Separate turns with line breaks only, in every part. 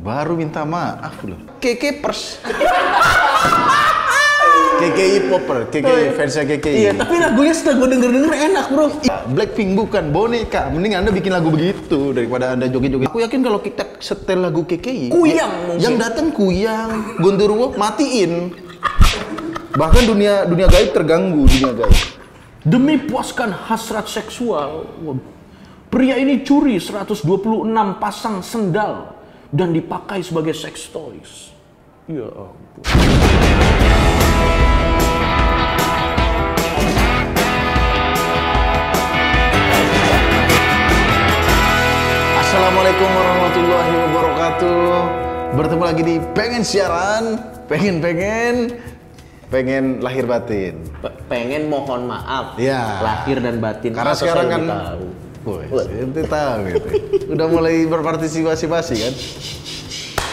Baru minta maaf loh. KK pers. KKI popper, KKI fansnya KKI.
Iya, tapi lagunya setelah gue denger-denger enak bro.
Blackpink bukan boneka. Mending anda bikin lagu begitu daripada anda joget-joget. Aku yakin kalau kita setel lagu KKI,
Kuyang mungkin.
yang datang kuyang, gondoruo matiin. Bahkan dunia dunia gaib terganggu dunia gaib.
Demi puaskan hasrat seksual, wah, pria ini curi 126 pasang sendal dan dipakai sebagai sex toys. Ya ampun.
Assalamualaikum warahmatullahi wabarakatuh. Bertemu lagi di pengen siaran, pengen pengen, pengen lahir batin.
Pe- pengen mohon maaf
Iya.
lahir dan batin
Karena
Masa
sekarang
saya
kan,
nggak tahu?
Woi, ente tahu gitu. Udah mulai berpartisipasi-pasi kan.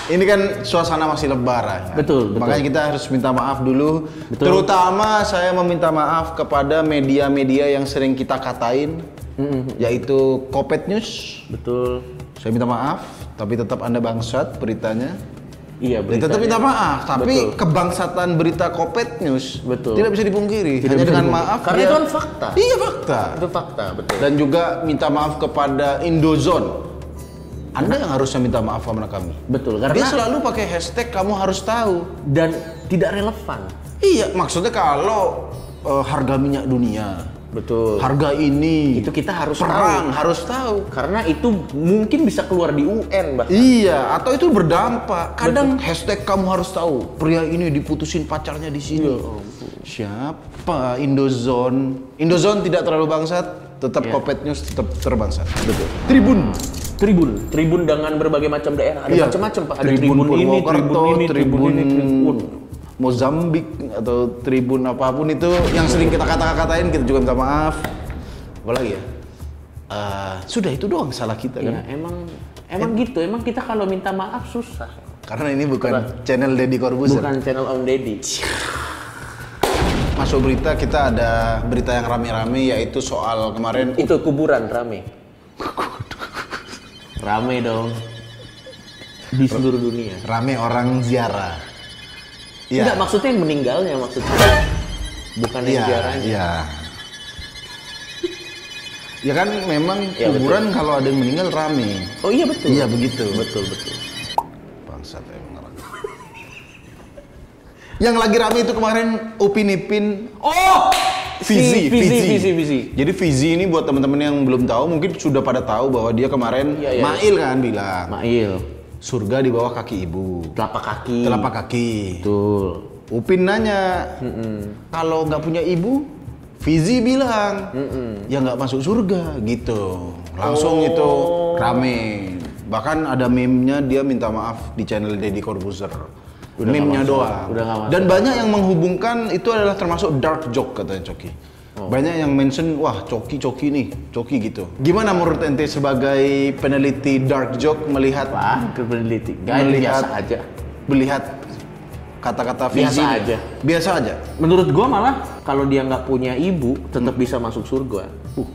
Ini kan suasana masih lebaran. kan?
Betul, betul.
Makanya kita harus minta maaf dulu.
Betul.
Terutama saya meminta maaf kepada media-media yang sering kita katain, yaitu Kopet News.
betul
Saya minta maaf, tapi tetap Anda bangsat beritanya.
iya
Ya, tetap minta
beritanya.
maaf, tapi
Betul.
kebangsatan berita Kopet News
Betul.
tidak bisa dipungkiri.
Tidak
Hanya
bisa
dengan
dipungkiri.
maaf
Karena
dia-
itu kan fakta.
Iya fakta.
itu fakta betul
Dan juga minta maaf kepada Indozone. Anda yang harusnya minta maaf sama kami.
betul karena
Dia selalu pakai hashtag kamu harus tahu.
dan tidak relevan
Iya, maksudnya kalau eh, harga minyak dunia,
betul
harga ini,
Itu kita harus
perang harus tahu.
karena itu mungkin bisa keluar di UN bahkan
Iya, atau itu berdampak. Kadang hashtag kamu harus tahu, pria ini diputusin pacarnya di sini.
Ya
Oh, Siapa Indozone? Indozone tidak terlalu bangsat,
Iya.
tetap Kopet News tetap terbangsat. Betul. Tribun.
Tribun, Tribun dengan berbagai macam daerah. Ada
Iya.
macam-macam Pak. Ada Tribun, ini,
Purwokerto, ya
Tribun ini, Tribun ini, Tribun.
Mozambik atau Tribun apapun itu yang sering kita kata-katain kita juga minta maaf. Apalagi ya? Eh, sudah itu doang salah kita
Ya,
kan.
emang emang gitu. Emang kita kalau minta maaf susah.
Karena ini bukan channel Deddy Corbuzier.
Bukan channel Om Deddy.
Masuk berita kita ada berita yang rame-rame yaitu soal kemarin
Itu kuburan rame. rame dong. Di seluruh dunia.
rame orang ziarah. Iya.
Enggak, maksudnya yang meninggalnya maksudnya. Bukan yang
Iya.
ziarahnya.
Iya. Ya kan memang
Ya, betul.
kuburan kalau ada yang meninggal rame.
Oh iya betul.
Iya begitu.
Betul betul.
Bangsat emang orang. Yang lagi rame itu kemarin Upin Ipin
Oh,
Fizi,
Fizi, Fizi, Fizi.
Jadi Fizi ini buat teman-teman yang belum tahu mungkin sudah pada tahu bahwa dia kemarin
Iya, iya.
Mail kan bilang
Mail,
surga di bawah kaki ibu.
telapak kaki.
Telapak kaki.
Betul.
Upin nanya, kalau nggak punya ibu, Fizi bilang, ya nggak masuk surga gitu.
Oh.
Langsung itu rame. Bahkan ada meme-nya dia minta maaf di channel Deddy Corbuzier.
nggak masuk,
meme-nya doang.
udah nggak masuk.
Dan banyak yang menghubungkan itu adalah termasuk dark joke katanya Coki.
Oh.
Banyak yang mention, wah Coki Coki nih, Coki gitu. Gimana menurut ente sebagai peneliti dark joke melihat
Wah, peneliti. Gak itu
Melihat-
biasa aja.
melihat
Biasa
kata-kata Fizi ini?
aja.
Biasa aja.
Menurut gua malah kalau dia nggak punya ibu tetap bisa masuk surga. Uh.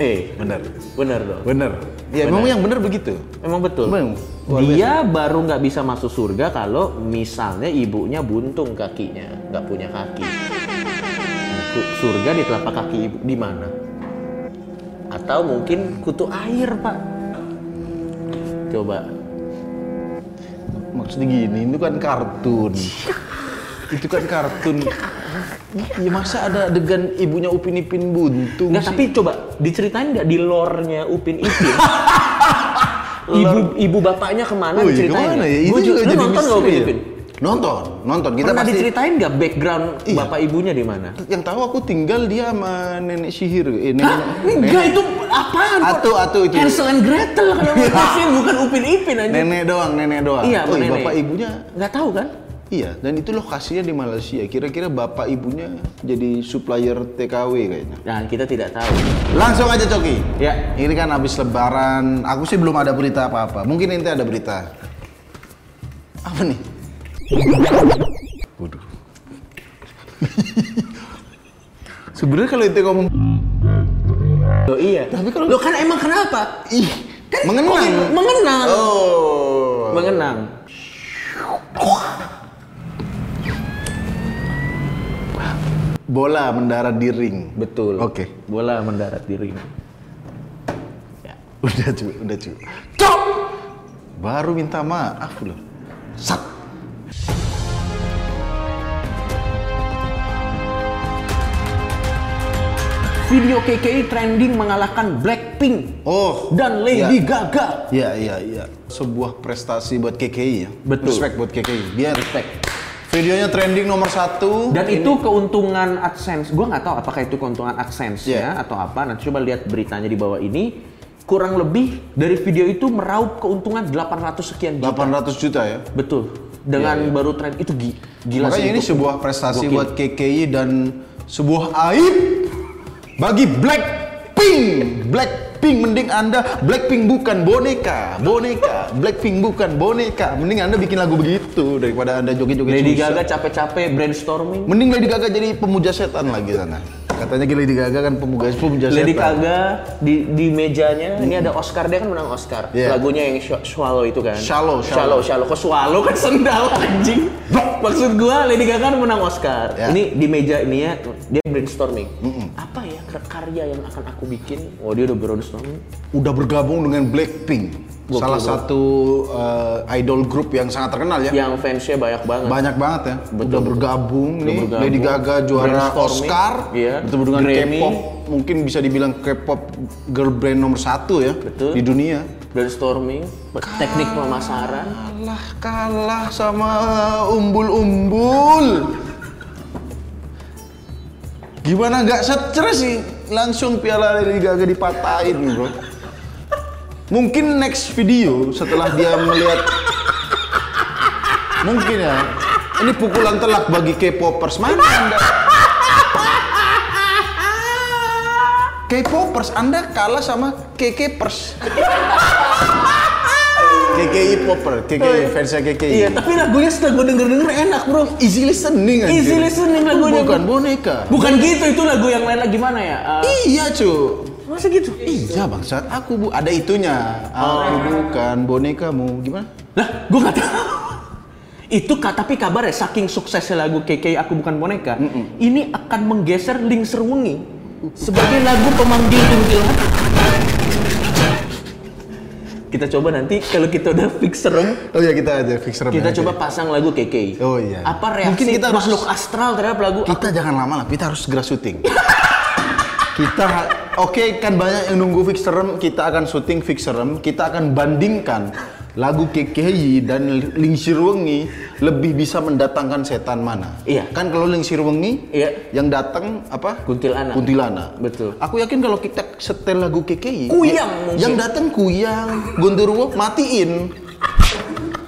Eh,
Bener.
bener dong.
Bener. Ya, memang yang bener begitu.
Emang betul.
Emang, luar
Dia baru nggak bisa masuk surga kalau misalnya ibunya buntung kakinya, nggak punya kaki. Su- Surga di telapak kaki ibu di mana? Atau mungkin kutu air pak? Coba.
Maksudnya gini, itu kan kartun. itu kan kartun. Ya masa ada adegan ibunya Upin Ipin buntung
Nggak,
sih?
tapi coba diceritain nggak di lore-nya Upin Ipin? ibu ibu bapaknya kemana
Wih,
diceritain?
kemana
nggak?
ya?
Gua
Itu
juga,
juga
lu
jadi
nonton nggak
misteri
Upin
ya?
Ipin?
Nonton, nonton. Kita
Pernah
pasti Iya.
diceritain nggak background bapak ibunya di mana?
yang tahu aku tinggal dia sama nenek sihir. Eh, nenek,
Enggak, itu apaan? Pak?
Atu, atu itu. Iya.
Hansel and Gretel kalau nggak salah sih, bukan Upin Ipin aja.
nenek doang, nenek doang.
Iya, sama
Wih,
nenek.
bapak ibunya
Nggak tahu kan?
Iya, dan itu lokasinya di Malaysia. Kira-kira bapak ibunya jadi supplier TKW kayaknya.
Nah, kita tidak tahu.
Langsung aja Coki.
Ya.
Ini kan habis lebaran, aku sih belum ada berita apa-apa. Mungkin nanti ada berita. Apa nih? Waduh. Sebenarnya kalau itu ngomong
Loh, iya. Tapi kalau Loh, kan emang kenapa?
ih, mengenang.
Mengenang.
Oh,
mengenang.
Bola mendarat di ring.
Betul.
Oke.
Bola mendarat di ring.
Udah cuy, udah cuy. Cok! Baru minta maaf loh. Sat.
Video KKI trending mengalahkan Blackpink
Oh.
dan
iya.
Lady Gaga.
Iya, iya, iya. Sebuah prestasi buat KKI ya.
Betul.
Respect buat KKI. Biar respect. Videonya trending nomor satu.
Dan itu keuntungan AdSense. Gua nggak tahu apakah itu keuntungan AdSense ya
Iya.
atau apa. Nanti coba lihat beritanya di bawah ini. Kurang lebih dari video itu meraup keuntungan 800 sekian juta.
800 juta ya.
Betul. Dengan baru tren itu gi- gila
Makanya
sih
ini
itu.
sebuah prestasi
Gokil.
buat KKI dan sebuah aib bagi Blackpink. Blackpink mending Anda Blackpink bukan boneka, boneka. Blackpink bukan boneka. Mending Anda bikin lagu begitu daripada Anda joget-joget
Lady
susah.
Gaga capek-capek brainstorming.
Mending Lady Gaga jadi pemuja setan lagi sana. Katanya Lady Gaga kan pemuja pemuja
Lady
setan.
Gaga di di mejanya ini ada Oscar dia kan menang Oscar.
Iya.
Lagunya yang Sho- Swallow itu kan.
Shallow,
Shallow,
Shallow.
Shallow. Kok Swallow kan sendal anjing. Maksud gua Lady Gaga kan menang Oscar.
Iya.
Ini di meja ini ya dia brainstorming. Apa ya ker- karya yang akan aku bikin? Oh, dia udah brainstorming.
Udah bergabung dengan Blackpink.
Gokil,
salah
bro.
satu eh, idol grup yang sangat terkenal ya.
Yang fansnya banyak banget.
banyak banget ya udah bergabung
Udah
nih
bergabung.
Lady Gaga juara
Brainstorming.
Oscar
Iya.
bertemu dengan
Grammy.
K-pop mungkin bisa dibilang K-pop girl brand nomor satu ya
Betul.
di dunia
brainstorming, teknik pemasaran.
kalah kalah sama umbul-umbul gimana nggak stres sih langsung piala Lady Gaga dipatahin bro mungkin next video setelah dia melihat mungkin ya ini pukulan telak bagi K-popers mana anda K-popers anda kalah sama KK-pers KKI popper, KKI fansnya KKI
Iya, tapi lagunya setelah gue denger-denger enak, Bro.
Easy listening anjir.
Easy listening lagunya.
Bukan boneka.
Bukan gitu, itu lagu yang lain lagi mana ya? Eh,
Iya cu.
masa gitu?
Iya bangsat. Aku bu ada itunya.
Oh.
Aku bukan bonekamu. Gimana?
Lah, gue nggak tahu. Itu ka- tapi kabar ya, saking suksesnya lagu KK Aku Bukan Boneka, ini akan menggeser Link Serwengi sebagai lagu pemanggil intil hati. Kita coba nanti kalau kita udah fix serem,
Oh ya kita aja fix rem
kita
ya,
coba
aja.
pasang lagu KK.
Oh, iya.
Apa reaksi
Mungkin kita harus-
makhluk astral terhadap lagu
Kita jangan lama lah. Kita harus segera syuting. kita ha- oke kan banyak yang nunggu fix rem. Kita akan syuting fix rem. Kita akan bandingkan lagu KKI dan Ling Sirwengi lebih bisa mendatangkan setan mana?
Iya.
Kan kalau Ling Sirwengi
Iya.
yang datang apa?
Kuntilanak.
Kuntilanak.
Betul.
Aku yakin kalau kita setel lagu KKI,
Kuyang
ya-
mungkin.
yang datang kuyang, gondoruo matiin.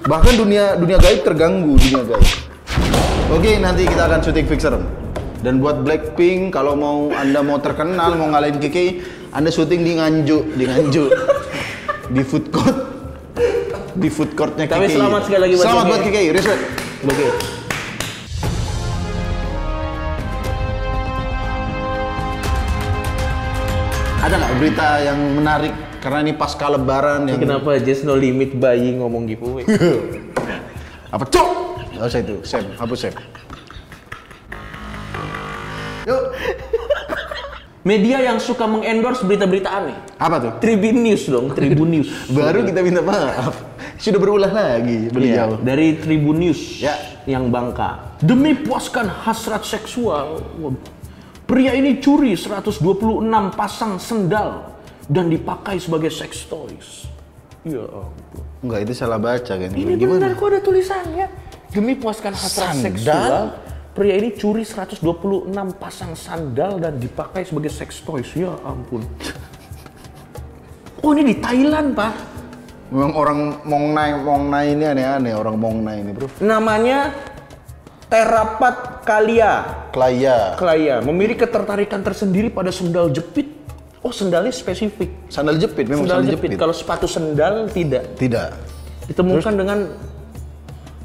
Bahkan dunia dunia gaib terganggu dunia gaib. Oke, nanti kita akan syuting fixer. Dan buat Blackpink, kalau mau Anda mau terkenal, mau ngalahin KKI, Anda syuting di Nganjuk, di Nganjuk. di food court. Di food courtnya KKI.
Tapi selamat sekali lagi buat
Selamat buat
KKI.
KKI, respect.
Oke.
Ada nggak berita yang menarik? Karena ini pasca lebaran yang
Kenapa Just No Limit Bayi ngomong gitu, giveaway?
apa cok nggak usah itu Sam hapus Sam yuk
Media yang suka mengendorse berita-berita aneh.
apa tuh
Tribun News dong, Tribun News.
baru kita minta maaf sudah berulah
Iya,
lagi beliau
dari Tribun News
Ya.
yang Bangka. Demi puaskan hasrat seksual, waduh, pria ini curi 126 pasang sendal dan dipakai sebagai sex toys. Ya ampun.
enggak itu salah baca kan
Ini benar kok ada tulisannya. Demi puaskan hasrat
Sandal?
seksual, pria ini curi 126 pasang sandal dan dipakai sebagai sex toys. Ya ampun. Oh ini di Thailand, Pak.
memang orang Mongnai Mongnai ini aneh-aneh orang Mongnai ini bro
Namanya Terapat Kalia.
Klaya
Klaya memiliki ketertarikan tersendiri pada sendal jepit. Oh, sendalnya spesifik.
sandal jepit memang
Sendal
sandal,
jepit.
jepit,
Kalau sepatu sendal tidak.
tidak
Ditemukan dengan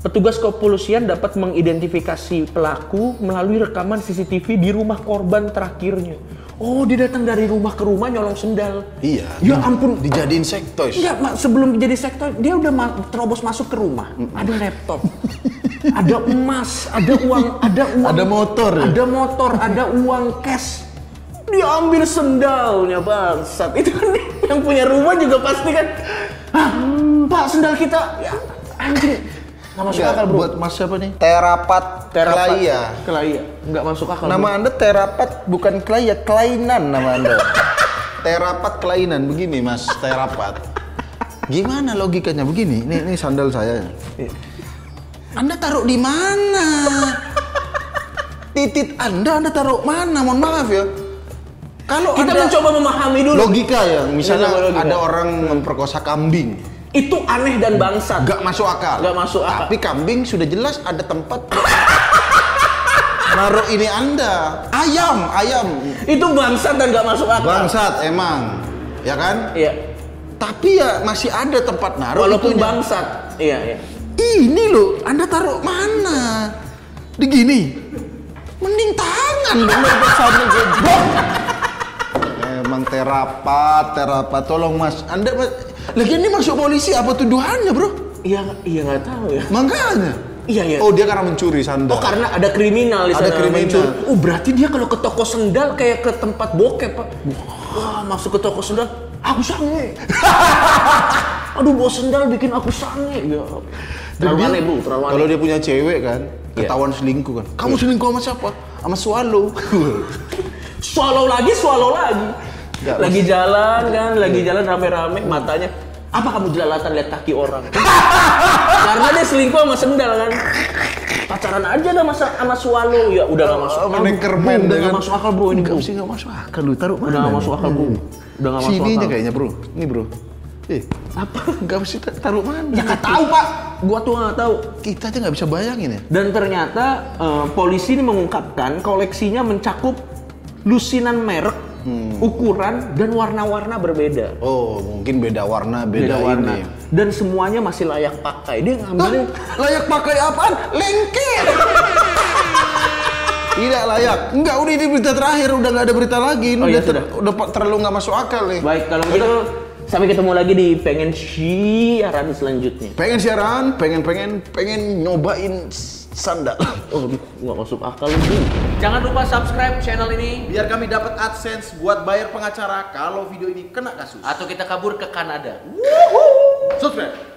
petugas kepolisian dapat mengidentifikasi pelaku melalui rekaman CCTV di rumah korban terakhirnya. Oh, dia datang dari rumah ke rumah nyolong sendal.
Iya.
Ya ampun.
Dijadiin sektois.
Enggak, Ma. sebelum jadi sektor, dia udah ma- terobos masuk ke rumah. Ada laptop. ada emas, ada uang, ada uang.
Ada motor ya?
Ada motor, ada uang cash. Diambil sendalnya, bangsat. Itu kan yang punya rumah juga pasti kan. "Hah, Pak, sendal kita. Ya, anjing. Nggak masuk
Enggak,
akal, Bro.
buat mas siapa nih? Terapat,
Terapat.
Kelaya.
Kelaya. Nggak masuk akal.
Nama anda Terapat bukan Kelaya, Kelainan nama anda. terapat Kelainan, begini mas, Terapat. Gimana logikanya begini? Ini, ini sandal saya.
Iya.
Anda taruh di mana? Titit Anda, Anda taruh mana? Mohon maaf ya. Kalau
Kita
Anda-
mencoba memahami dulu.
logika ya, misalnya
Iya, logika.
ada orang memperkosa kambing,
Itu aneh dan bangsat.
nggak masuk akal.
Nggak masuk akal.
Tapi kambing sudah jelas ada tempat naruh ini Anda. Ayam, ayam.
Itu bangsat dan nggak masuk akal.
Bangsat emang. Ya kan?
Iya.
Tapi ya masih ada tempat naruh
Walaupun
Oh, itunya.
bangsat. Iya, iya.
Ini loh, Anda taruh mana? Di gini. Mending tangan dong daripada sandal goblok. Emang terapat, terapat. Tolong Mas, Anda lagi ini masuk polisi apa tuduhannya, Bro?
Iya, iya nggak tahu ya.
Makanya.
Iya, iya.
Oh, dia karena mencuri sandal.
Oh karena ada kriminal di
Ada
sana.
kriminal.
muncul. Oh berarti dia kalau ke toko sendal kayak ke tempat bokep pak. Wah masuk ke toko sendal, aku sange. Aduh bawa sendal bikin aku sange. Ya.
Dan
Terlalu
dia-
aneh bro, terlalu Iya. aneh.
Kalau dia punya cewek kan, ketahuan selingkuh kan. Kamu selingkuh sama siapa? Sama swallow.
Swallow lagi, swallow lagi.
Nggak, Iya.
lagi jalan kan, lagi jalan rame-rame matanya. Apa kamu jelalatan lihat kaki orang? Karena dia selingkuh sama sendal kan. Pacaran aja dah masa sama swallow ya udah nggak masuk. akal, bro. udah
Menekermen dia
nggak
Oh, kan.
masuk akal bro ini bro.
Enggak sih enggak masuk akal lu taruh Iya,
Udah nggak masuk akal
Hmm.
bro. Udah nggak masuk
Sininya
akal.
kayaknya, Bro. Ini, Bro. Eh,
Apa?
enggak mesti tar- taruh mana?
Ya nggak tahu pak. Gua tuh nggak tahu.
Kita aja nggak bisa bayangin ya.
Dan ternyata eh, polisi ini mengungkapkan koleksinya mencakup lusinan merek,
Hmm.
ukuran dan warna-warna berbeda.
Oh, mungkin beda warna,
beda
beda,
warna
ini.
dan semuanya masih layak pakai dia
Hah?
ngambil
layak pakai apaan? Lengket. Tidak layak. Enggak, udah ini berita terakhir, udah nggak ada berita lagi. Ini
Oh, iya,
udah, ter-
sudah.
udah pa- terlalu nggak masuk akal nih.
baik kalau gitu sampai ketemu lagi di pengen siaran selanjutnya
Pengen siaran, pengen pengen pengen nyobain s- sandal.
oh nggak masuk akal sih jangan lupa subscribe channel ini
biar kami dapat AdSense buat bayar pengacara kalau video ini kena kasus.
atau kita kabur ke Kanada
Subscribe.